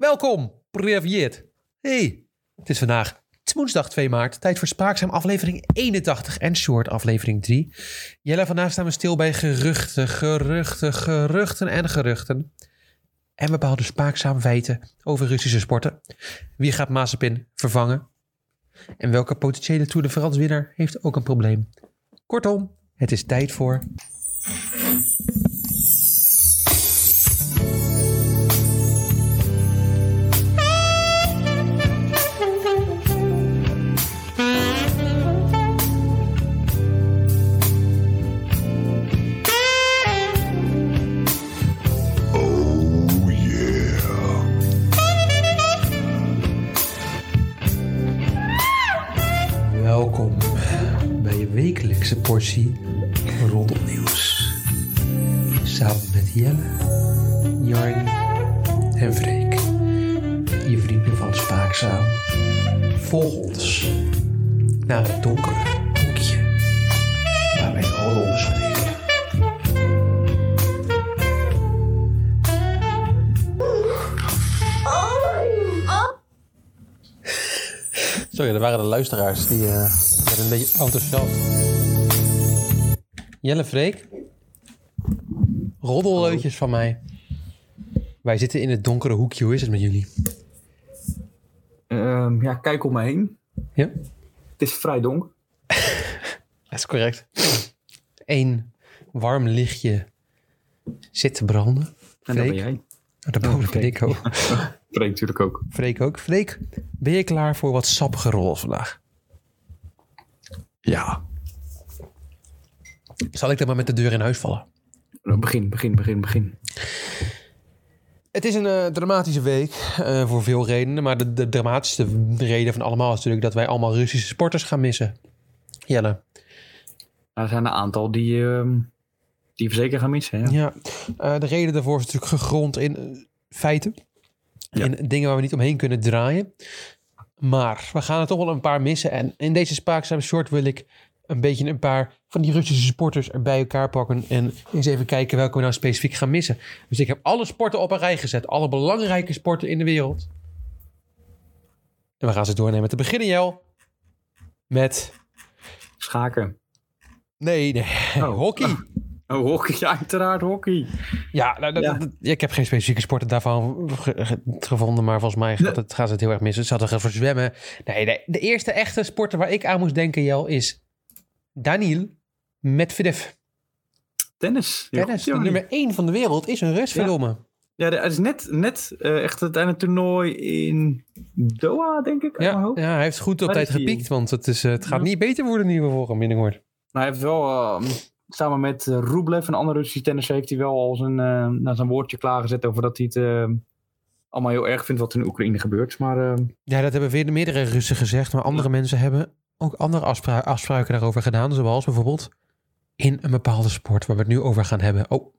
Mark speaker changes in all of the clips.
Speaker 1: Welkom, Prevjet. Hey, het is vandaag het is woensdag 2 maart. Tijd voor Spraakzaam aflevering 81 en Short aflevering 3. Jelle, vandaag staan we stil bij geruchten, geruchten, geruchten en geruchten. En bepaalde Spraakzaam feiten over Russische sporten. Wie gaat Mazepin vervangen? En welke potentiële Tour de France winnaar heeft ook een probleem? Kortom, het is tijd voor Welkom bij je wekelijkse portie roddelnieuws. Samen met Jelle, Jorn en Freek. Je vrienden van Spaakzaam. Volg ons naar het donkere hoekje waar wij roddel bespreken.
Speaker 2: Sorry, dat waren de luisteraars die eh, werden een beetje enthousiast.
Speaker 1: Jelle, Freek. Roddelleutjes van mij. Wij zitten in het donkere hoekje. Hoe is het met jullie?
Speaker 3: Ehm, ja, kijk om me heen.
Speaker 1: Ja?
Speaker 3: Het is vrij donker.
Speaker 1: Dat is correct. Eén warm lichtje zit te branden.
Speaker 3: En
Speaker 1: Freek?
Speaker 3: dat ben jij.
Speaker 1: Oh, dat boven ben ik ook.
Speaker 3: Freek natuurlijk ook.
Speaker 1: Freek ook. Freek, ben je klaar voor wat sappige rol vandaag?
Speaker 3: Ja.
Speaker 1: Zal ik dan maar met de deur in huis vallen?
Speaker 3: Nou, Begin, begin, begin, Nou, begin.
Speaker 1: Het is een eh, dramatische week eh, voor veel redenen. Maar de, de dramatischste reden van allemaal is natuurlijk dat wij allemaal Russische sporters gaan missen. Jelle.
Speaker 3: Er zijn een aantal die, ehm, die we zeker gaan missen. Hè?
Speaker 1: Ja, eh, de reden daarvoor is natuurlijk gegrond in eh, feiten.
Speaker 3: Ja.
Speaker 1: In dingen waar we niet omheen kunnen draaien. Maar we gaan er toch wel een paar missen. En in deze spaakzame short wil ik een beetje een paar van die Russische sporters er bij elkaar pakken. En eens even kijken welke we nou specifiek gaan missen. Dus ik heb alle sporten op een rij gezet. Alle belangrijke sporten in de wereld. En we gaan ze doornemen. Te beginnen, Jel. Met.
Speaker 3: Schaken.
Speaker 1: Nee, nee.
Speaker 3: Oh.
Speaker 1: Hockey.
Speaker 3: Oh, hockey. Ja, uiteraard hockey.
Speaker 1: Ja, nou, dat-
Speaker 3: Ja.
Speaker 1: dat- ja, ik heb geen specifieke sporten daarvan ge- ge- gevonden, maar volgens mij gaat het, gaan ze het heel erg mis. Ze hadden gaan verzwemmen. Nee, de, de eerste echte sporter waar ik aan moest denken, Jel, is Daniel Medvedev.
Speaker 3: Tennis. Heel
Speaker 1: Tennis,
Speaker 3: goed,
Speaker 1: de
Speaker 3: Johnny.
Speaker 1: nummer één van de wereld, is een Rus,
Speaker 3: Ja.
Speaker 1: verdomme.
Speaker 3: Ja, dat is net, net eh, echt het einde toernooi in Doha, denk ik. uit mijn
Speaker 1: Ja,
Speaker 3: hoofd.
Speaker 1: ja, hij heeft goed op
Speaker 3: Waar
Speaker 1: tijd
Speaker 3: is hij?
Speaker 1: gepiekt, want het, is, eh, het gaat
Speaker 3: Ja.
Speaker 1: niet beter worden nu we volgen binnenkort.
Speaker 3: Maar hij heeft wel, ehm, samen met eh, Rublev, een andere Russische tennisser, heeft hij wel al zijn, eh, nou, zijn woordje klaargezet over dat hij het ehm, allemaal heel erg vindt wat er in Oekraïne gebeurt. Maar ehm,
Speaker 1: Ja, dat hebben weer meerdere Russen gezegd, maar andere mensen hebben ook andere afspra- afspraken daarover gedaan. Zoals bijvoorbeeld in een bepaalde sport waar we het nu over gaan hebben. Oh,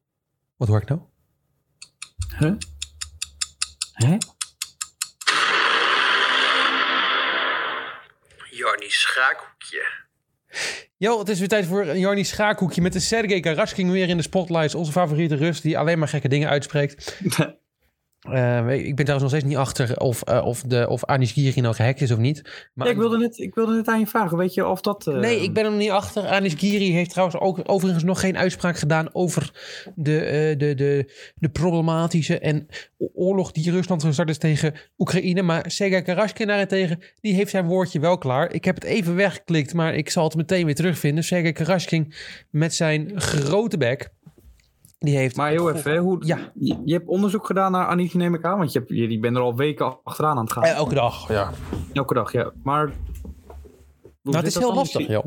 Speaker 1: wat hoor ik nou?
Speaker 3: Huh? Hè?
Speaker 4: Jarny Schaakhoekje.
Speaker 1: Jo, het is weer tijd voor een Jarni Schaakhoekje met de Sergej Karaskin weer in de spotlights. Onze favoriete Rus die alleen maar gekke dingen uitspreekt. Eh, ik ben trouwens nog steeds niet achter of, eh, of, de, of Anish Giri nou gehackt is of niet. Maar,
Speaker 3: Ja, ik, wilde net, ik wilde net aan je vragen, weet je of dat... eh,
Speaker 1: Nee, ik ben er nog niet achter. Anish Giri heeft trouwens ook overigens nog geen uitspraak gedaan over de, eh, de, de, de problematische en o- oorlog die Rusland gestart is tegen Oekraïne. Maar Sergej Karaskin daarentegen, die heeft zijn woordje wel klaar. Ik heb het even weggeklikt, maar ik zal het meteen weer terugvinden. Sergej Karaskin met zijn grote bek. Die heeft
Speaker 3: Maar heel even, hè, hoe,
Speaker 1: Ja.
Speaker 3: je, je hebt onderzoek gedaan naar Annie, neem ik aan, want je, hebt, je, je bent er al weken achteraan aan het gaan.
Speaker 1: Eh, elke dag. Ja.
Speaker 3: Elke dag, ja. Maar... hoe
Speaker 1: Nou, het
Speaker 3: zit
Speaker 1: is
Speaker 3: dat
Speaker 1: heel
Speaker 3: dan?
Speaker 1: lastig, joh.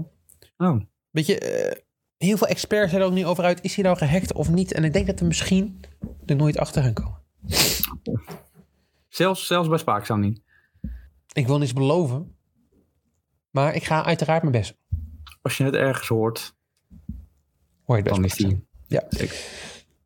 Speaker 3: Oh,
Speaker 1: Weet je, eh, heel veel experts zijn er ook niet over uit. Is hij nou gehackt of niet? En ik denk dat we misschien er nooit achter gaan komen.
Speaker 3: zelfs, zelfs bij Spaakzaam niet.
Speaker 1: Ik wil niets beloven. Maar ik ga uiteraard mijn best. doen.
Speaker 3: Als je het ergens hoort,
Speaker 1: Hoor je het best.
Speaker 3: dan is
Speaker 1: maar.
Speaker 3: die...
Speaker 1: Ja.
Speaker 3: Zeker.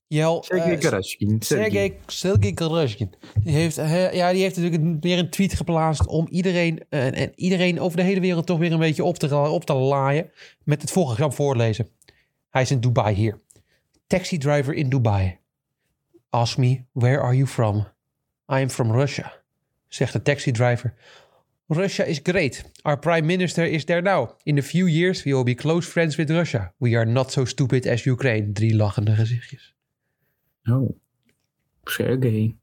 Speaker 1: Jel,
Speaker 3: Sergej
Speaker 1: eh,
Speaker 3: Karasjkin, Sergej.
Speaker 1: Sergej, Sergej Karasjkin. Die heeft, eh, ja, die heeft natuurlijk een- weer een tweet geplaatst om iedereen, eh, en, en iedereen over de hele wereld toch weer een beetje op te, ra- op te laaien. Met het volgende gram voorlezen. Hij is in Dubai hier. Taxi driver in Dubai. Ask me, where are you from? I am from Russia, zegt de taxi driver. Russia is great. Our prime minister is there now. In a few years we will be close friends with Russia. We are not so stupid as Ukraine. Drie lachende gezichtjes.
Speaker 3: Oh. Sergey.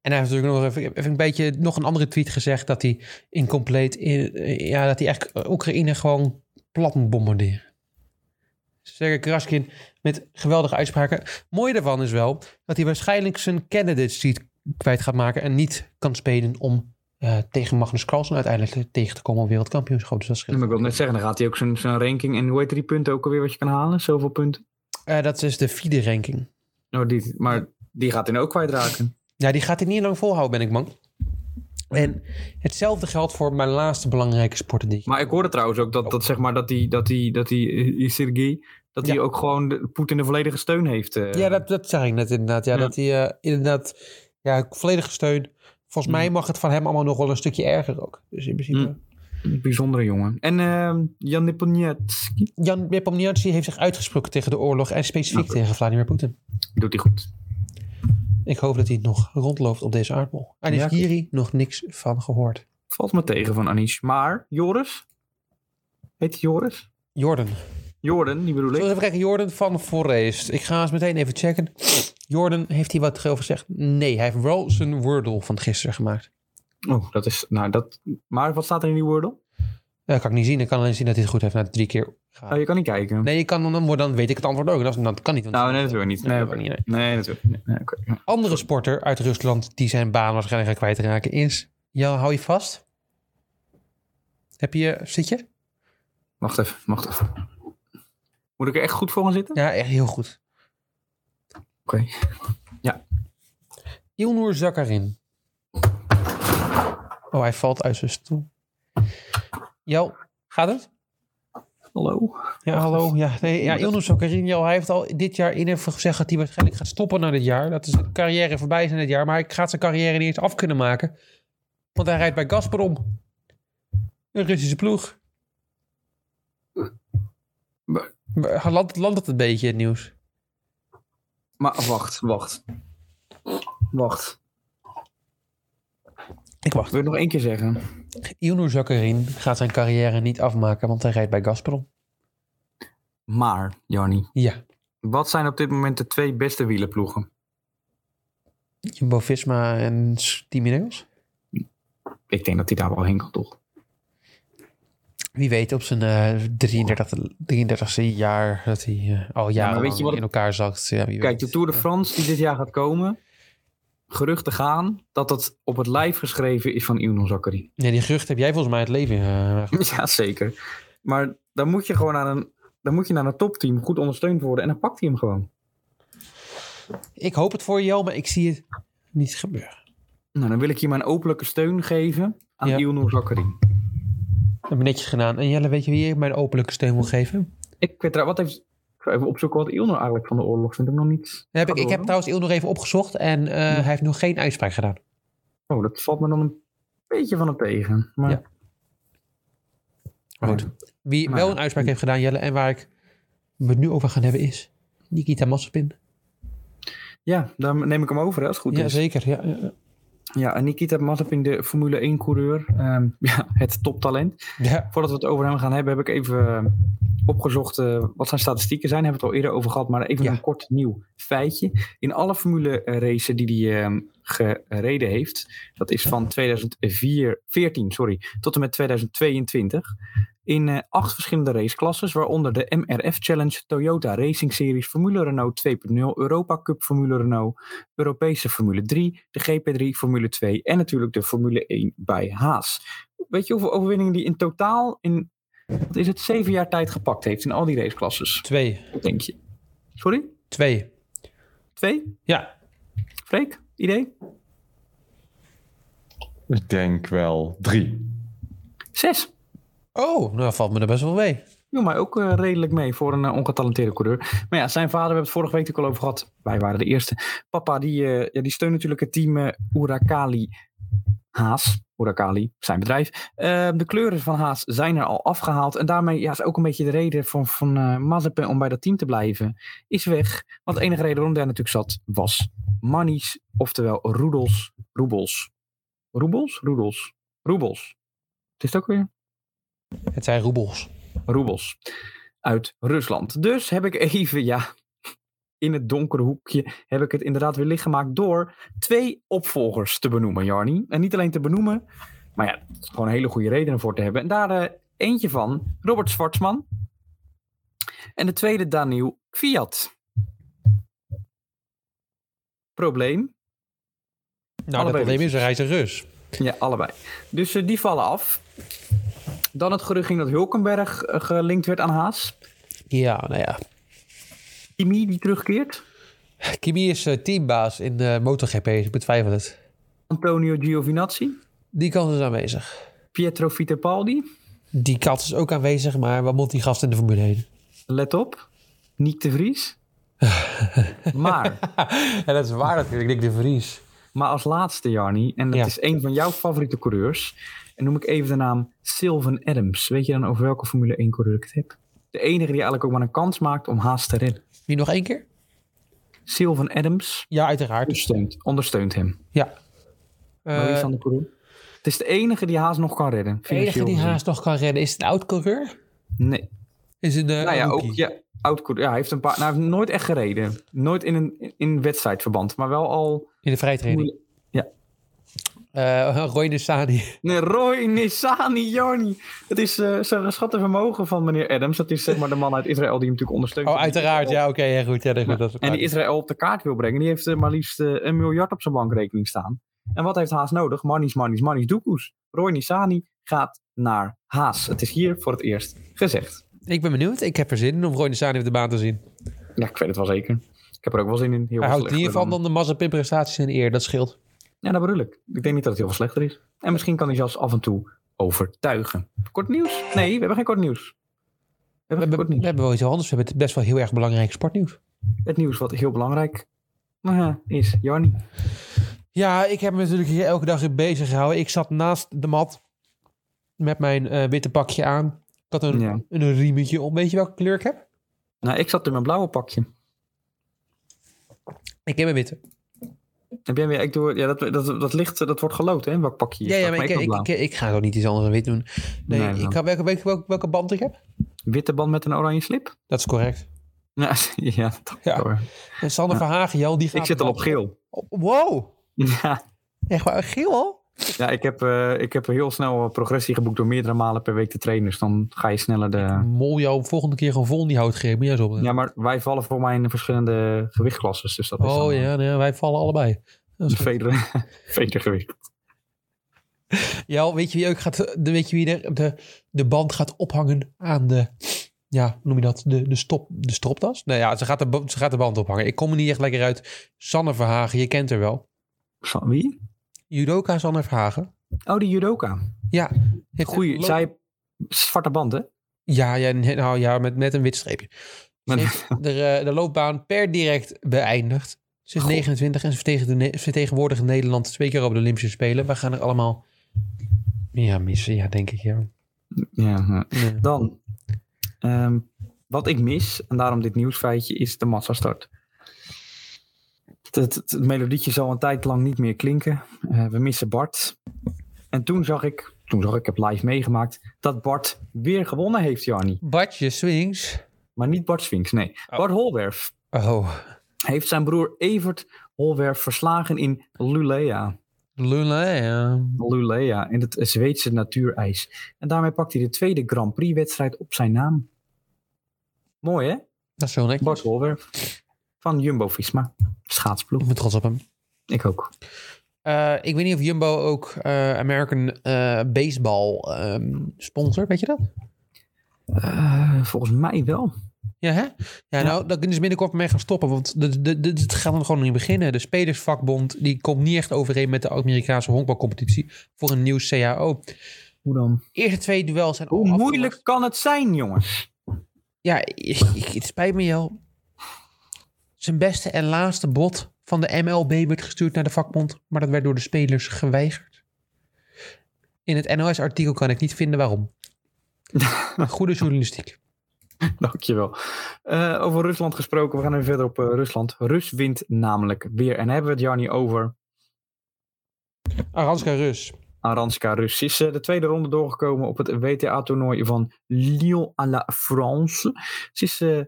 Speaker 1: En hij heeft natuurlijk nog even, even een beetje nog een andere tweet gezegd dat hij incompleet, in, eh, ja, dat hij echt eh, Oekraïne gewoon plat moet bombarderen. Sergej Kraskin met geweldige uitspraken. Mooi daarvan is wel dat hij waarschijnlijk zijn candidate seat kwijt gaat maken en niet kan spelen om eh, tegen Magnus Carlsen uiteindelijk te- tegen te komen op wereldkampioenschap. Dus dat scheelt.
Speaker 3: Maar ik wil net zeggen, dan gaat hij ook zijn, zijn ranking en hoe heet die punten ook alweer wat je kan halen? Zoveel punten.
Speaker 1: Eh, dat is de vierde ranking.
Speaker 3: Nou, die, maar die gaat hij ook kwijtraken.
Speaker 1: Ja, die gaat hij niet lang volhouden, ben ik bang. En hetzelfde geldt voor mijn laatste belangrijke sporten die ik
Speaker 3: Maar ik hoorde trouwens ook dat, dat zeg maar, dat die, dat die, dat die, eh, die Sergey, dat hij
Speaker 1: Ja.
Speaker 3: ook gewoon de- Poetin de volledige steun heeft. eh.
Speaker 1: Ja, dat, dat zei ik net inderdaad. Ehm, Ja,
Speaker 3: Ja.
Speaker 1: dat hij eh, inderdaad ja, volledige steun. Volgens
Speaker 3: Mm.
Speaker 1: mij mag het van hem allemaal nog wel een stukje erger ook. Dus in principe.
Speaker 3: Mm. Een Bijzondere jongen. En ehm Jan Nepomniachtchi
Speaker 1: Jan Nepomniachtchi heeft zich uitgesproken tegen de oorlog en specifiek
Speaker 3: Ja.
Speaker 1: tegen Vladimir Poetin.
Speaker 3: doet hij goed.
Speaker 1: Ik hoop dat hij nog rondloopt op deze aardbol. En
Speaker 3: Ja,
Speaker 1: heeft
Speaker 3: ik-
Speaker 1: hier nog niks van gehoord.
Speaker 3: Valt me tegen van Anish. Maar Joris? Heet hij Joris?
Speaker 1: Jordan.
Speaker 3: Jordan, die bedoel
Speaker 1: Zullen we
Speaker 3: ik.
Speaker 1: even kijken? Jordan van Forest. Ik ga eens meteen even checken. Jordan, heeft hij wat over gezegd? Nee, hij heeft wel zijn Wordle van gisteren gemaakt.
Speaker 3: Oh, dat is, nou dat, maar wat staat er in die Wordle?
Speaker 1: Dat kan ik niet zien. Ik kan alleen zien dat hij het goed heeft na drie keer gaan.
Speaker 3: Oh, je kan niet kijken.
Speaker 1: Nee, je kan, dan, dan weet ik het antwoord ook. Dat, is- dat kan niet. want-
Speaker 3: Nou, nee, natuurlijk niet. Nee,
Speaker 1: Nee,
Speaker 3: oké.
Speaker 1: dat kan
Speaker 3: nee natuurlijk niet. Nee, oké.
Speaker 1: Andere sporter uit Rusland die zijn baan waarschijnlijk gaat kwijtraken is... Ja, hou je vast? Heb je... Zit je?
Speaker 3: Wacht even, wacht even. Moet ik er echt goed voor gaan zitten?
Speaker 1: Ja, echt heel goed.
Speaker 3: Oké.
Speaker 1: Ilnur Zakarin. Oh, hij valt uit zijn stoel. Jo, gaat het?
Speaker 3: Hallo?
Speaker 1: Ja, hallo. Ja, nee, ja Ilnur Zakarin, Jo, hij heeft al dit jaar in even gezegd dat hij waarschijnlijk gaat stoppen na dit jaar. Dat is de carrière voorbij is in dit jaar. Maar hij gaat zijn carrière niet eens af kunnen maken. Want hij rijdt bij Gazprom. Een Russische ploeg.
Speaker 3: Maar-
Speaker 1: Maar Landt land het een beetje, het nieuws?
Speaker 3: Maar wacht, wacht. Wacht.
Speaker 1: Ik wacht.
Speaker 3: Wil je het nog één keer zeggen?
Speaker 1: Ilnur Zakarin gaat zijn carrière niet afmaken, want hij rijdt bij Gazprom.
Speaker 3: Maar, Janni,
Speaker 1: Ja,
Speaker 3: wat zijn op dit moment de twee beste wielenploegen?
Speaker 1: Jumbo-Visma en Team Ineos.
Speaker 3: Ik denk dat hij daar wel heen kan, toch?
Speaker 1: Wie weet op zijn eh, 33, 33ste jaar dat hij eh, al
Speaker 3: Ja,
Speaker 1: jaren
Speaker 3: maar weet je wat
Speaker 1: in elkaar zakt. Ja, eh, wie
Speaker 3: Kijk, de
Speaker 1: weet.
Speaker 3: Tour de
Speaker 1: Ja.
Speaker 3: France die dit jaar gaat komen. Geruchten gaan dat dat op het lijf geschreven is van Ion Zakarin.
Speaker 1: Nee, die gerucht heb jij volgens mij het leven. eh,
Speaker 3: Jazeker. Maar dan moet je gewoon naar een, dan moet je naar een topteam goed ondersteund worden. En dan pakt hij hem gewoon.
Speaker 1: ik hoop het voor jou, maar ik zie het niet gebeuren.
Speaker 3: Nou, dan wil ik je mijn openlijke steun geven aan
Speaker 1: Ja.
Speaker 3: ja. Ion Zakarin.
Speaker 1: Dat heb ik netjes gedaan. En Jelle, weet je wie ik mijn openlijke steun wil geven?
Speaker 3: Ik weet trouw- wat heeft. Ik ga even opzoeken wat Ilno eigenlijk van de oorlog vindt. Ik nog niet.
Speaker 1: Dan Heb ik,
Speaker 3: Gaat
Speaker 1: ik heb
Speaker 3: door,
Speaker 1: trouwens Il nog even opgezocht en
Speaker 3: Hm.
Speaker 1: eh, hij heeft nog geen uitspraak gedaan.
Speaker 3: hoor. Oh, dat valt me dan een beetje van het tegen. Maar...
Speaker 1: Ja. Maar goed. Wie
Speaker 3: Maar
Speaker 1: wel
Speaker 3: Oh. Nou ja.
Speaker 1: een uitspraak heeft gedaan, Jelle, en waar ik we het nu over gaan hebben, is Nikita Mazepin.
Speaker 3: Ja, dan neem ik hem over hè, als het goed
Speaker 1: Ja,
Speaker 3: is.
Speaker 1: zeker. Ja, ja, ja.
Speaker 3: Ja, en Nikita Mazepin, de Formule 1-coureur. ehm, ja, het toptalent.
Speaker 1: ja.
Speaker 3: Voordat we het over hem gaan hebben, heb ik even eh, opgezocht eh, wat zijn statistieken zijn. Hebben we het al eerder over gehad, maar even
Speaker 1: Ja.
Speaker 3: een kort nieuw feitje. In alle Formule eh, races die hij eh, gereden heeft, dat is van 2014 sorry, tot en met 2022, in eh, acht verschillende raceklasses, waaronder de MRF Challenge, Toyota Racing Series, Formule Renault 2.0, Europa Cup Formule Renault, Europese Formule 3, de GP3 Formule 2 en natuurlijk de Formule 1 bij Haas weet je hoeveel overwinningen die in totaal in wat is het zeven jaar tijd gepakt heeft in al die raceklasses?
Speaker 1: Twee.
Speaker 3: Denk je? Sorry?
Speaker 1: Twee.
Speaker 3: Twee?
Speaker 1: Ja.
Speaker 3: Freek? Idee?
Speaker 5: Ik denk wel drie.
Speaker 3: Zes.
Speaker 1: Oh, nou valt me er best wel mee.
Speaker 3: Noem mij ook eh, redelijk mee voor een eh, ongetalenteerde coureur. Maar ja, zijn vader, we hebben het vorige week ook al over gehad. Wij waren de eerste. Papa, die, eh, ja, die steunt natuurlijk het team eh Urakali Haas, Horakali, zijn bedrijf. Eh, de kleuren van Haas zijn er al afgehaald. En daarmee ja, is ook een beetje de reden van, van eh, Mazepin om bij dat team te blijven, is weg. Want de enige reden waarom daar natuurlijk zat, was manies, oftewel roedels, roebels. Roebels? Roedels. Roebels. Het is het ook weer?
Speaker 1: Het zijn roebels.
Speaker 3: roebels uit Rusland. Dus heb ik even, ja, in het donkere hoekje heb ik het inderdaad weer lichtgemaakt door twee opvolgers te benoemen, Jarni. En niet alleen te benoemen, maar ja, gewoon hele goede redenen voor te hebben. En daar eh, eentje van, Robert Schwartzman. En de tweede, Daniel Fiat. Probleem,
Speaker 1: Nou, dat
Speaker 3: Allebei
Speaker 1: probleem is, hij is een Rus.
Speaker 3: ja, allebei. Dus eh, die vallen af. Dan het gerucht ging dat Hulkenberg eh, gelinkt werd aan Haas.
Speaker 1: Ja, nou ja.
Speaker 3: Kimi die terugkeert.
Speaker 1: Kimi is eh, teambaas in eh, MotoGP, ik betwijfel het.
Speaker 3: Antonio Giovinazzi,
Speaker 1: Die kans is aanwezig.
Speaker 3: Pietro Fittipaldi.
Speaker 1: Die kans is ook aanwezig, maar waar moet die gast in de Formule heen?
Speaker 3: Let op, Niek de Vries. maar,
Speaker 2: En dat is waar natuurlijk, Nick de Vries.
Speaker 3: maar als laatste, Jarni, en dat
Speaker 1: Ja.
Speaker 3: is een van jouw favoriete coureurs. En noem ik even de naam Sylvan Adams. Weet je dan over welke Formule 1 coureur ik het heb? De enige die eigenlijk ook maar een kans maakt om haast te redden.
Speaker 1: Wie nog één keer?
Speaker 3: Sylvan Adams
Speaker 1: Ja, uiteraard.
Speaker 3: ondersteunt, ondersteunt hem.
Speaker 1: Ja.
Speaker 3: Maar wie is
Speaker 1: Eh,
Speaker 3: dan de coureur? Het is de enige die haast nog kan redden.
Speaker 1: de enige
Speaker 3: financieel
Speaker 1: die Oh,
Speaker 3: gezien.
Speaker 1: haast nog kan redden is het een oud-coureur?
Speaker 3: Nee,
Speaker 1: Is het een eh,
Speaker 3: nou ja,
Speaker 1: rookie?
Speaker 3: ook ja, oud coureur. Ja, hij heeft een paar. Nou, hij heeft nooit echt gereden. Nooit in een in wedstrijdverband, maar wel al.
Speaker 1: in de vrijtraining?
Speaker 3: Ja.
Speaker 1: Eh Roy Nissani.
Speaker 3: Nee, Roy Nissani, Jarni. Dat is eh, zijn geschatte vermogen van meneer Adams. Dat is zeg maar de man uit Israël die hem natuurlijk ondersteunt.
Speaker 1: Oh, uiteraard. Ja, oké. ja, goed. Ja, dat, goed,
Speaker 3: Ja.
Speaker 1: dat is
Speaker 3: En die
Speaker 1: is...
Speaker 3: Israël op de kaart wil brengen. Die heeft eh, maar liefst eh, een miljard op zijn bankrekening staan. En wat heeft Haas nodig? Mannies, mannies, mannies, doekoes. Roy Nissani gaat naar Haas. Het is hier voor het eerst gezegd.
Speaker 1: Ik ben benieuwd. Ik heb er zin in om Roy Nissani op de baan te zien.
Speaker 3: Ja, ik weet het wel zeker. Ik heb er ook wel zin in.
Speaker 1: Hij
Speaker 3: Heel veel
Speaker 1: houdt in ieder
Speaker 3: slechter
Speaker 1: geval dan de Mazepin-prestaties in eer. Dat scheelt.
Speaker 3: Ja, dat bedoel ik. Ik denk niet dat het heel veel slechter is. En misschien kan hij zelfs af en toe overtuigen. Kort nieuws? Nee, we hebben geen kort nieuws.
Speaker 1: We
Speaker 3: We hebben geen
Speaker 1: hebben,
Speaker 3: kort
Speaker 1: we
Speaker 3: nieuws.
Speaker 1: hebben wel iets heel anders. We hebben het best wel heel erg belangrijk sportnieuws.
Speaker 3: Het nieuws wat heel belangrijk eh, is. Jarni.
Speaker 1: Ja, ik heb me natuurlijk hier elke dag in bezig gehouden. Ik zat naast de mat met mijn eh, witte pakje aan. Ik had een,
Speaker 3: Ja.
Speaker 1: een riemetje om. Weet je welke kleur ik heb?
Speaker 3: Nou, ik zat in mijn blauwe pakje.
Speaker 1: Ik heb een witte.
Speaker 3: Heb jij weer, ik doe, ja, dat, dat, dat licht eh, dat wordt geloot, hè? Welk pakje je
Speaker 1: Ja, ja,
Speaker 3: staat,
Speaker 1: maar ik,
Speaker 3: heb
Speaker 1: ik,
Speaker 3: blauw.
Speaker 1: ik, ik ga toch niet iets anders dan wit doen. Nee,
Speaker 3: Nee,
Speaker 1: ik
Speaker 3: maar-
Speaker 1: ga, welke, welke, welke, welke band ik heb?
Speaker 3: Witte band met een oranje slip?
Speaker 1: Dat is correct.
Speaker 3: Nou, ja, dat
Speaker 1: Ja.
Speaker 3: hoor.
Speaker 1: En Sander
Speaker 3: Ja.
Speaker 1: van Hagen, Jan, die gaat... Oh,
Speaker 3: Ik zit al op geel.
Speaker 1: Wow!
Speaker 3: Ja,
Speaker 1: Echt waar, geel al?
Speaker 3: ja ik, heb, eh, ik heb heel snel progressie geboekt door meerdere malen per week te trainen. Dus dan ga je sneller de,
Speaker 1: Mol jou volgende keer gewoon vol in die houtgreep. Moet jij zo op.
Speaker 3: Ja, maar wij vallen voor mij in verschillende gewichtklasses. Dus dat is
Speaker 1: oh
Speaker 3: dan
Speaker 1: ja, nee, wij vallen allebei. Dat is
Speaker 3: een
Speaker 1: goed.
Speaker 3: veder, vedergewicht.
Speaker 1: Ja, weet je wie ook gaat, de, weet je wie de, de, de band gaat ophangen aan de, ja, hoe noem je dat, de, de, stop, de stropdas? Nou ja, ze gaat, de, bo- ze gaat de band ophangen. Ik kom er niet echt lekker uit. Sanne Verhagen, je kent haar wel.
Speaker 3: Van wie?
Speaker 1: Judoka Sanne Verhagen.
Speaker 3: Oh, die judoka.
Speaker 1: Ja. heeft een
Speaker 3: Goeie,
Speaker 1: lo-
Speaker 3: zij... Zwarte banden.
Speaker 1: Ja, ja, nee, nou ja, met, met een wit streepje. Ze
Speaker 3: Met-
Speaker 1: heeft de, eh, de loopbaan per direct beëindigd. Ze is
Speaker 3: Goh.
Speaker 1: 29 en ze vertegen- vertegenwoordigt Nederland twee keer op de Olympische Spelen. We gaan er allemaal ja, missen, ja, denk ik. Ja.
Speaker 3: Ja. ja.
Speaker 1: Nee.
Speaker 3: Dan, ehm, wat ik mis, en daarom dit nieuwsfeitje, is de massastart. Het, het, het melodietje zal een tijd lang niet meer klinken. Eh, we missen Bart. En toen zag ik, toen zag ik, ik heb live meegemaakt, dat Bart weer gewonnen heeft, Jarni.
Speaker 1: Bartje Swings.
Speaker 3: Maar niet Bart Swinks, nee. Bart Holwerf.
Speaker 1: Oh,
Speaker 3: heeft zijn broer Evert Holwerf verslagen in Lulea.
Speaker 1: Lula, ja.
Speaker 3: Lulea, in het Zweedse natuurijs. En daarmee pakt hij de tweede Grand Prix-wedstrijd op zijn naam. Mooi, hè?
Speaker 1: Dat is zo netjes.
Speaker 3: Bart Holwerf van Jumbo-Visma. Schaatsploeg.
Speaker 1: Ik ben trots op hem.
Speaker 3: Ik ook.
Speaker 1: Eh, ik weet niet of Jumbo ook eh, American eh, Baseball ehm sponsor, weet je dat?
Speaker 3: Eh, volgens mij wel.
Speaker 1: Ja, hè? Ja, nou, daar kunnen ze binnenkort mee gaan stoppen. Want de- de- de- het gaat dan gewoon niet beginnen. De spelersvakbond die komt niet echt overeen met de Amerikaanse honkbalcompetitie voor een nieuw CAO.
Speaker 3: Hoe dan?
Speaker 1: Eerste twee duels zijn al
Speaker 3: Hoe
Speaker 1: afgelast.
Speaker 3: moeilijk kan het zijn, jongens?
Speaker 1: Ja, ik- ik- het spijt me jou. Zijn beste en laatste bod van de MLB werd gestuurd naar de vakbond. Maar dat werd door de spelers geweigerd. In het NOS-artikel kan ik niet vinden waarom. Goede journalistiek.
Speaker 3: Dankjewel. Eh over Rusland gesproken, we gaan even verder op eh, Rusland. Rus wint namelijk weer. En hebben we het Jarni over
Speaker 1: Aranska Rus.
Speaker 3: Aranska Rus. Ze is eh, de tweede ronde doorgekomen op het WTA-toernooi van Lyon à la France. Ze is, eh,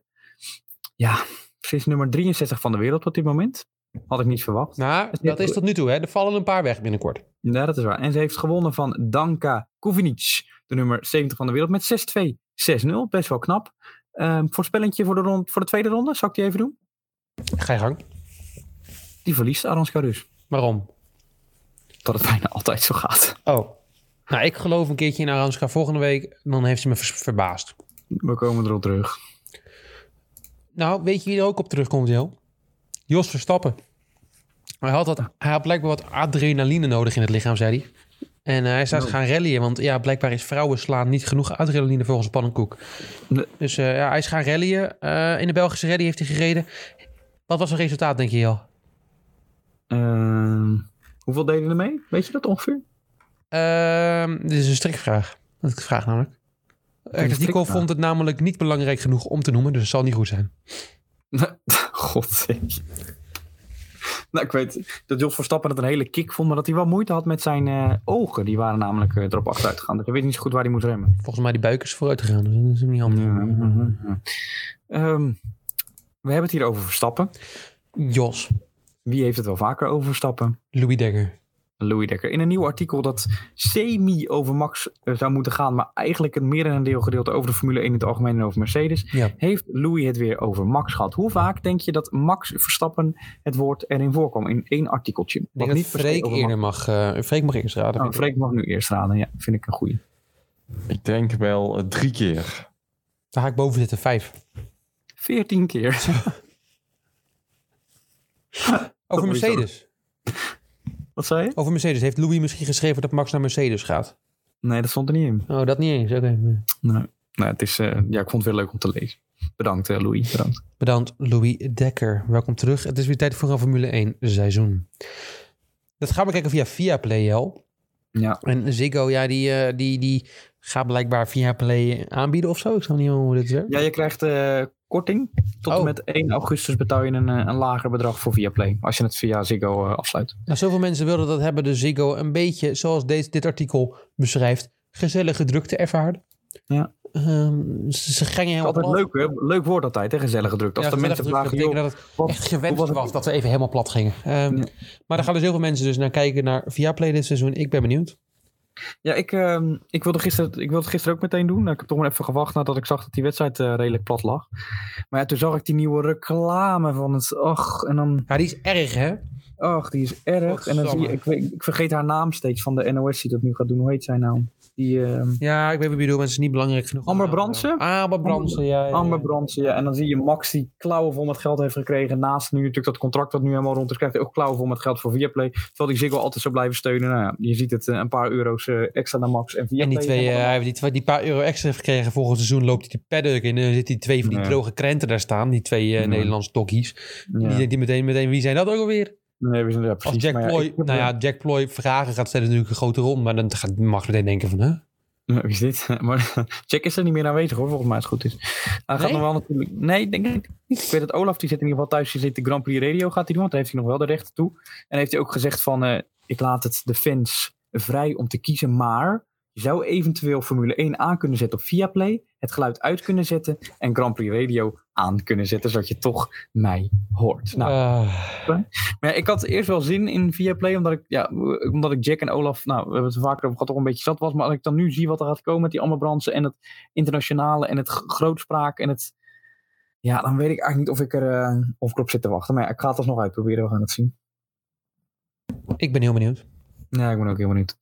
Speaker 3: ja, ze is nummer 63 van de wereld op dit moment. Had ik niet verwacht.
Speaker 1: Nou, dat is tot nu toe. Hè. Er vallen een paar weg binnenkort.
Speaker 3: Ja, dat is waar. En ze heeft gewonnen van Danka Kovinic, de nummer 70 van de wereld, met 6-2, 6-0. Best wel knap. Ehm voorspellingje voor de, rond, voor de tweede ronde, zal ik die even doen?
Speaker 1: Ga je gang.
Speaker 3: Die verliest Aranska Rus.
Speaker 1: Waarom?
Speaker 3: Dat het bijna altijd zo gaat.
Speaker 1: Oh. Nou, ik geloof een keertje in Aranska volgende week. Dan heeft ze me vers- verbaasd.
Speaker 3: We komen erop terug.
Speaker 1: Nou, weet je wie er ook op terugkomt, Jo? Jos Verstappen. Hij had, dat, hij had blijkbaar wat adrenaline nodig in het lichaam, zei hij. En eh, hij zou
Speaker 3: Nou.
Speaker 1: gaan rallyen, want ja, blijkbaar is vrouwen slaan niet genoeg adrenaline volgens Pannenkoek.
Speaker 3: Nee.
Speaker 1: Dus eh, ja, hij is gaan rallyen. Eh, in de Belgische rally heeft hij gereden. Wat was het resultaat, denk je, Jo?
Speaker 3: Ehm, hoeveel deden er mee? Weet je dat ongeveer?
Speaker 1: Ehm, dit is een strikvraag. Dat is een vraag namelijk.
Speaker 3: een
Speaker 1: Nicole
Speaker 3: strikvraag.
Speaker 1: vond het namelijk niet belangrijk genoeg om te noemen, dus het zal niet goed zijn.
Speaker 3: God. ik- nou, ik weet dat Jos Verstappen het een hele kick vond, maar dat hij wel moeite had met zijn eh, ogen. Die waren namelijk eh, erop achteruit gegaan. Dus hij weet niet zo goed waar hij moet remmen.
Speaker 1: Volgens mij die buik is vooruit gegaan, dus dat is hem niet handig.
Speaker 3: Ehm, we hebben het hier over Verstappen.
Speaker 1: Jos,
Speaker 3: Wie heeft het wel vaker over Verstappen?
Speaker 1: Louis Dekker.
Speaker 3: Louis Dekker. In een nieuw artikel dat semi over Max eh, zou moeten gaan, maar eigenlijk het merendeel gedeelte over de Formule 1 in het algemeen en over Mercedes,
Speaker 1: Ja.
Speaker 3: heeft Louis het weer over Max gehad. Hoe vaak denk je dat Max Verstappen het woord erin voorkwam in één artikeltje?
Speaker 1: Ik denk
Speaker 3: Wat
Speaker 1: dat
Speaker 3: per se
Speaker 1: Freek
Speaker 3: over
Speaker 1: eerder mag, eh, Freek mag eerst raden.
Speaker 3: Max- Oh, Freek mag nu eerst raden, ja, vind ik een goeie.
Speaker 5: Ik denk wel eh, drie keer.
Speaker 1: Daar ga ik boven zitten, vijf.
Speaker 3: Veertien keer.
Speaker 1: Over
Speaker 3: moet je
Speaker 1: Mercedes.
Speaker 3: Wat zei je?
Speaker 1: Over Mercedes. Heeft Louis misschien geschreven dat Max naar Mercedes gaat?
Speaker 3: Nee, dat stond er niet in.
Speaker 1: Oh, dat niet eens. Oké.
Speaker 3: Nee. Nou, het is, eh, ja, ik vond het weer leuk om te lezen. Bedankt, eh, Louis. Bedankt.
Speaker 1: Bedankt, Louis Dekker. Welkom terug. Het is weer tijd voor een Formule 1 seizoen. Dat gaan we kijken via Viaplay, Jel.
Speaker 3: Ja,
Speaker 1: En Ziggo, ja, die, eh, die, die gaat blijkbaar Viaplay aanbieden of zo. Ik snap niet helemaal hoe dit werkt.
Speaker 3: ja je krijgt eh, korting. Tot
Speaker 1: Oh.
Speaker 3: en met 1 augustus betaal je een, eh, een lager bedrag voor Viaplay. Als je het via Ziggo eh, afsluit.
Speaker 1: Nou, zoveel mensen wilden dat hebben, dus Ziggo een beetje, zoals deze, dit artikel beschrijft, gezellige drukte ervaren.
Speaker 3: Ja.
Speaker 1: Ehm, ze, ze gingen heel
Speaker 3: Altijd leuk, hè? leuk woord altijd, hè? gezellig gedrukt. Als
Speaker 1: Ja,
Speaker 3: de mensen
Speaker 1: gezellig
Speaker 3: vragen,
Speaker 1: drukte
Speaker 3: joh,
Speaker 1: betekent dat het
Speaker 3: wat-
Speaker 1: echt gewenst
Speaker 3: hoe
Speaker 1: was,
Speaker 3: was het?
Speaker 1: dat we even helemaal plat gingen. Ehm,
Speaker 3: Ja.
Speaker 1: Maar daar gaan dus heel veel mensen dus naar kijken naar Viaplay dit seizoen. Ik ben benieuwd.
Speaker 3: Ja, ik, ehm, ik, wilde gisteren, ik wilde het gisteren ook meteen doen. Nou, Ik heb toch maar even gewacht nadat ik zag dat die wedstrijd eh, redelijk plat lag. Maar ja, toen zag ik die nieuwe reclame van het... Och, en dan...
Speaker 1: Ja, die is erg, hè?
Speaker 3: Hm. Ach, die is erg. En dan zie je,
Speaker 1: Godsamme.
Speaker 3: ik, weet- ik vergeet haar naam steeds van de NOS die dat nu gaat doen. Hoe heet zij nou? Die... ehm,
Speaker 1: Ja, ik weet wat je bedoelt, maar het is niet belangrijk genoeg.
Speaker 3: Amber Brandsen?
Speaker 1: Ah, Amber Brandsen, ja. ja, ja.
Speaker 3: Amber Brandsen, ja. En dan zie je Max die klauwen vol met geld heeft gekregen. Naast nu natuurlijk dat contract dat nu helemaal rond is, krijgt hij ook klauwen vol met geld voor Viaplay. Terwijl die Ziggo altijd zou blijven steunen. Nou ja, je ziet het, eh, een paar euro's eh, extra naar Max en Viaplay.
Speaker 1: En die twee, eh,
Speaker 3: Helemaal-
Speaker 1: hij heeft die, twee- die paar euro extra gekregen volgend seizoen, loopt hij de paddock in. En dan zit die twee van die
Speaker 3: Ja.
Speaker 1: droge krenten daar staan. Die twee eh
Speaker 3: Ja.
Speaker 1: Nederlandse tokkies.
Speaker 3: ja.
Speaker 1: Die denkt die meteen, meteen, wie zijn dat ook alweer?
Speaker 3: Nee, we zijn ja,
Speaker 1: Als
Speaker 3: precies.
Speaker 1: Jack
Speaker 3: Maar
Speaker 1: Ploy,
Speaker 3: ik-
Speaker 1: nou ja, Jack Ploy vragen gaat stellen natuurlijk een grote rol. Maar dan gaat Max meteen denken van, hè?
Speaker 3: Nou, Wie is dit? Maar Jack is er niet meer aanwezig hoor, volgens mij als het goed is. Hij gaat
Speaker 1: Nee?
Speaker 3: nog wel natuurlijk... Nee, denk ik niet. Ik weet dat Olaf, die zit in ieder geval thuis, die zit de Grand Prix Radio gaat hij doen, want daar heeft hij nog wel de rechten toe. En heeft hij ook gezegd van, eh, ik laat het de fans vrij om te kiezen, maar je zou eventueel Formule 1 aan kunnen zetten op Viaplay, het geluid uit kunnen zetten en Grand Prix Radio aan kunnen zetten, zodat je toch mij hoort. Nou,
Speaker 1: Ah.
Speaker 3: maar ja, ik had eerst wel zin in Viaplay, omdat ik, ja, omdat ik Jack en Olaf, nou, we hebben het er vaker over gehad, toch een beetje zat was. Maar als ik dan nu zie wat er gaat komen met die Amber Brandsen en het internationale en het g- grootspraak en het... Ja, dan weet ik eigenlijk niet of ik, er, eh, of ik erop zit te wachten. Maar ja, ik ga het alsnog uitproberen, we gaan het zien.
Speaker 1: Ik ben heel benieuwd.
Speaker 3: Ja, ik ben ook heel benieuwd.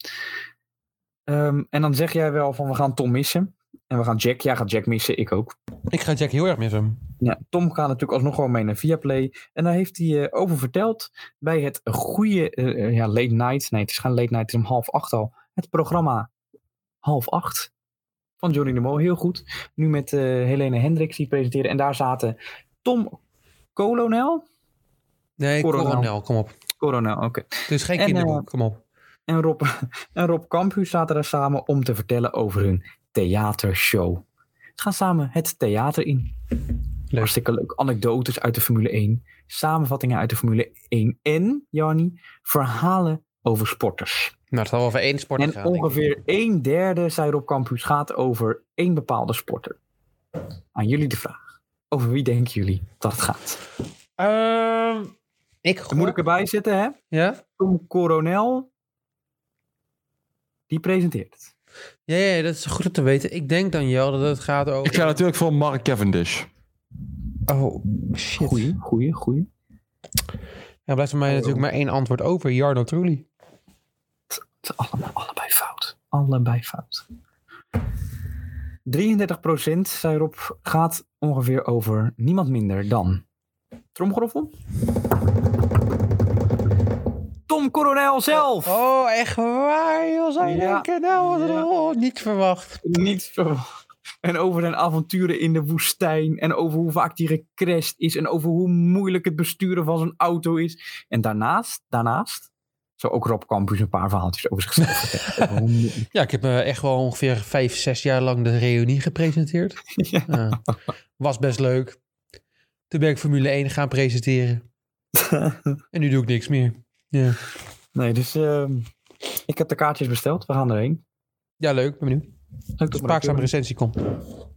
Speaker 3: Ehm, en dan zeg jij wel van, we gaan Tom missen. En we gaan Jack, jij gaat Jack missen, ik ook.
Speaker 1: Ik ga Jack heel erg missen.
Speaker 3: Ja, Tom gaat natuurlijk alsnog gewoon mee naar Viaplay. En daar heeft hij eh, over verteld bij het goede eh, eh, ja, late night. Nee, het is geen late night, het is om half acht al. Het programma half acht van Johnny de Mol. Heel goed. Nu met eh, Helene Hendricks die presenteren. En daar zaten Tom Colonel.
Speaker 1: Nee,
Speaker 3: Coronel.
Speaker 1: Coronel, kom op.
Speaker 3: Coronel, oké.
Speaker 1: Het is geen
Speaker 3: En, eh,
Speaker 1: kinderboek, kom op.
Speaker 3: en Rob, en Rob Kamphuus zaten daar samen om te vertellen over hun theatershow. Ze gaan samen het theater in. Hartstikke leuk. Anekdotes uit de Formule 1. Samenvattingen uit de Formule 1. En, Janni, verhalen over sporters.
Speaker 1: Nou, het zal wel over één sport gaan.
Speaker 3: En
Speaker 1: denk ik.
Speaker 3: ongeveer een derde, zei Rob Campus, gaat over één bepaalde sporter. Aan jullie de vraag. Over wie denken jullie dat het gaat?
Speaker 1: Ehm, ik
Speaker 3: Dan moet ik erbij zitten, hè?
Speaker 1: Ja?
Speaker 3: Tom Coronel, die presenteert het.
Speaker 1: Ja, ja, dat is goed om te weten. Ik denk, Daniel, dat het gaat over...
Speaker 5: Ik ga natuurlijk voor Mark Cavendish.
Speaker 1: Oh, shit.
Speaker 3: Goeie, goeie, goeie.
Speaker 1: Er blijft
Speaker 3: Oh.
Speaker 1: voor mij natuurlijk maar één antwoord over. Jarno Trulli.
Speaker 3: Het is allemaal, allebei fout. Allebei fout. 33 procent, zei Rob, gaat ongeveer over niemand minder dan... Tromgeroffel? Tom Coronel zelf!
Speaker 1: Oh, echt waar, joh. Zou je
Speaker 3: Ja.
Speaker 1: denken? Nou, wat een-
Speaker 3: Ja.
Speaker 1: oh, niet verwacht.
Speaker 3: Niet verwacht. En over zijn avonturen in de woestijn. En over hoe vaak hij gecrashed is. En over hoe moeilijk het besturen van zijn auto is. En daarnaast, daarnaast zou ook Rob Campus een paar verhaaltjes over zichzelf vertellen. Over hoe moeilijk-
Speaker 1: Ja, ik heb eh, echt wel ongeveer vijf, zes jaar lang de reunie gepresenteerd.
Speaker 3: Ja.
Speaker 1: Ja. was best leuk. Toen ben ik Formule 1 gaan presenteren. en nu doe ik niks meer. Ja,
Speaker 3: Nee, dus ehm, ik heb de kaartjes besteld. We gaan erheen.
Speaker 1: ja leuk. Ben benieuwd.
Speaker 3: Leuk dat we dat
Speaker 1: Spraakzame
Speaker 3: kunnen.
Speaker 1: recensie komt.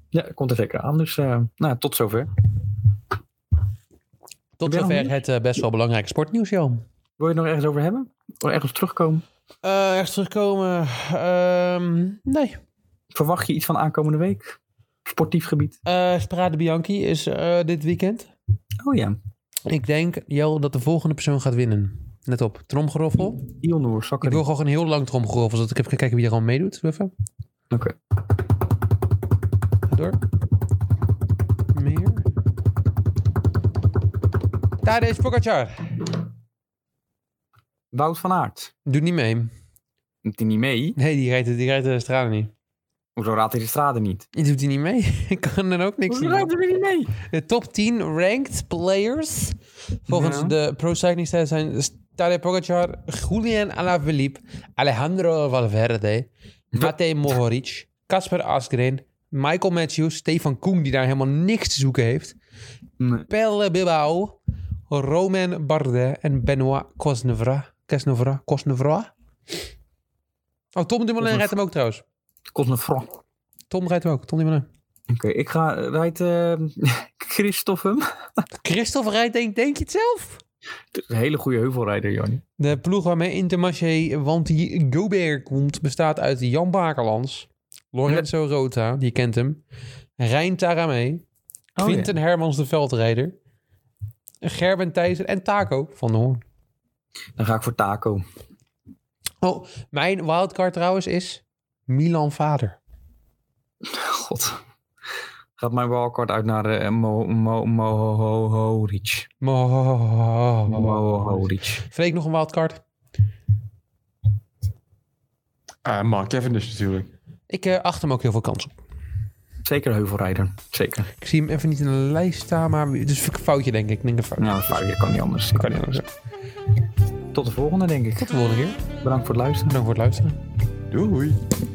Speaker 3: Ja, komt er zeker aan. Dus eh, nou, tot zover.
Speaker 1: Tot
Speaker 3: je nog
Speaker 1: zover
Speaker 3: nieuws?
Speaker 1: het eh, best wel belangrijke sportnieuws, Jan.
Speaker 3: Wil je het nog ergens over hebben? Of ergens op terugkomen?
Speaker 1: Eh echt terugkomen? Ehm, nee.
Speaker 3: Verwacht je iets van aankomende week? Sportief gebied.
Speaker 1: Eh Strade Bianchi is eh, dit weekend.
Speaker 3: Oh ja,
Speaker 1: Ik denk, Jel, dat de volgende persoon gaat winnen. Let op, tromgeroffel.
Speaker 3: Ilnoor
Speaker 1: Ik
Speaker 3: Sakkari.
Speaker 1: wil gewoon een heel lang tromgeroffel, zodat ik even kan kijken wie er al meedoet. Doe even.
Speaker 3: Oké.
Speaker 1: Ga Door. Meer. Tadej Pogacar.
Speaker 3: Wout van Aert.
Speaker 1: Doet niet mee.
Speaker 3: Doet hij niet mee?
Speaker 1: Nee, die rijdt, die rijdt de stralen niet.
Speaker 3: Hoezo raadt hij de straten niet?
Speaker 1: Die doet hij niet mee. Ik kan er ook niks
Speaker 3: Hoezo
Speaker 1: zien.
Speaker 3: raadt hij niet mee?
Speaker 1: De top 10 ranked players. Volgens
Speaker 3: Ja.
Speaker 1: de Pro Cycling Stats zijn Tadej Pogacar, Julian Alaphilippe, Alejandro Valverde, Matej Mohoric, Kasper Asgreen, Michael Matthews, Stefan Koen, die daar helemaal niks te zoeken heeft,
Speaker 3: Nee.
Speaker 1: Pelle Bilbao, Romain Bardet en Benoit Cosnevra. Cosnevra? Cosnevra? Oh, Tom Dumoulin
Speaker 3: Cosnefra.
Speaker 1: rijdt hem ook trouwens.
Speaker 3: Cosnefron. Oké,
Speaker 1: Tom rijdt hem ook, Tom Dumoulin.
Speaker 3: ik ga rijdt eh Christophe hem.
Speaker 1: Christophe rijdt denk, denk je het zelf?
Speaker 3: Dat is een hele goede heuvelrijder, Jan.
Speaker 1: De ploeg waarmee Intermarché Wanty Gobert komt bestaat uit Jan Bakerlands, Lorenzo Rota, die kent hem, Rijn Taramé,
Speaker 3: Oh
Speaker 1: Quinten Hermans de veldrijder, Gerben Thijssen en Taco van de Hoorn.
Speaker 3: Dan ga ik voor Taco.
Speaker 1: Oh, mijn wildcard trouwens is Milan Vader.
Speaker 3: God. Gaat mijn wildcard uit naar eh, Mo Mo Mo Ho Ho Rich. Mo Ho Rich.
Speaker 1: Freek nog een wildcard?
Speaker 5: Ah, Mark Cavendish natuurlijk.
Speaker 1: Ik eh, acht hem ook heel veel kans op.
Speaker 3: Zeker heuvelrijder. Zeker.
Speaker 1: Ik zie hem even niet in de lijst staan, maar dus een foutje denk ik. Ik denk een foutje.
Speaker 3: Nou, dat kan niet anders.
Speaker 1: Kan niet anders.
Speaker 3: Tot de volgende, denk ik.
Speaker 1: Tot de volgende keer.
Speaker 3: Bedankt voor het luisteren.
Speaker 1: Bedankt voor het luisteren.
Speaker 5: Doei.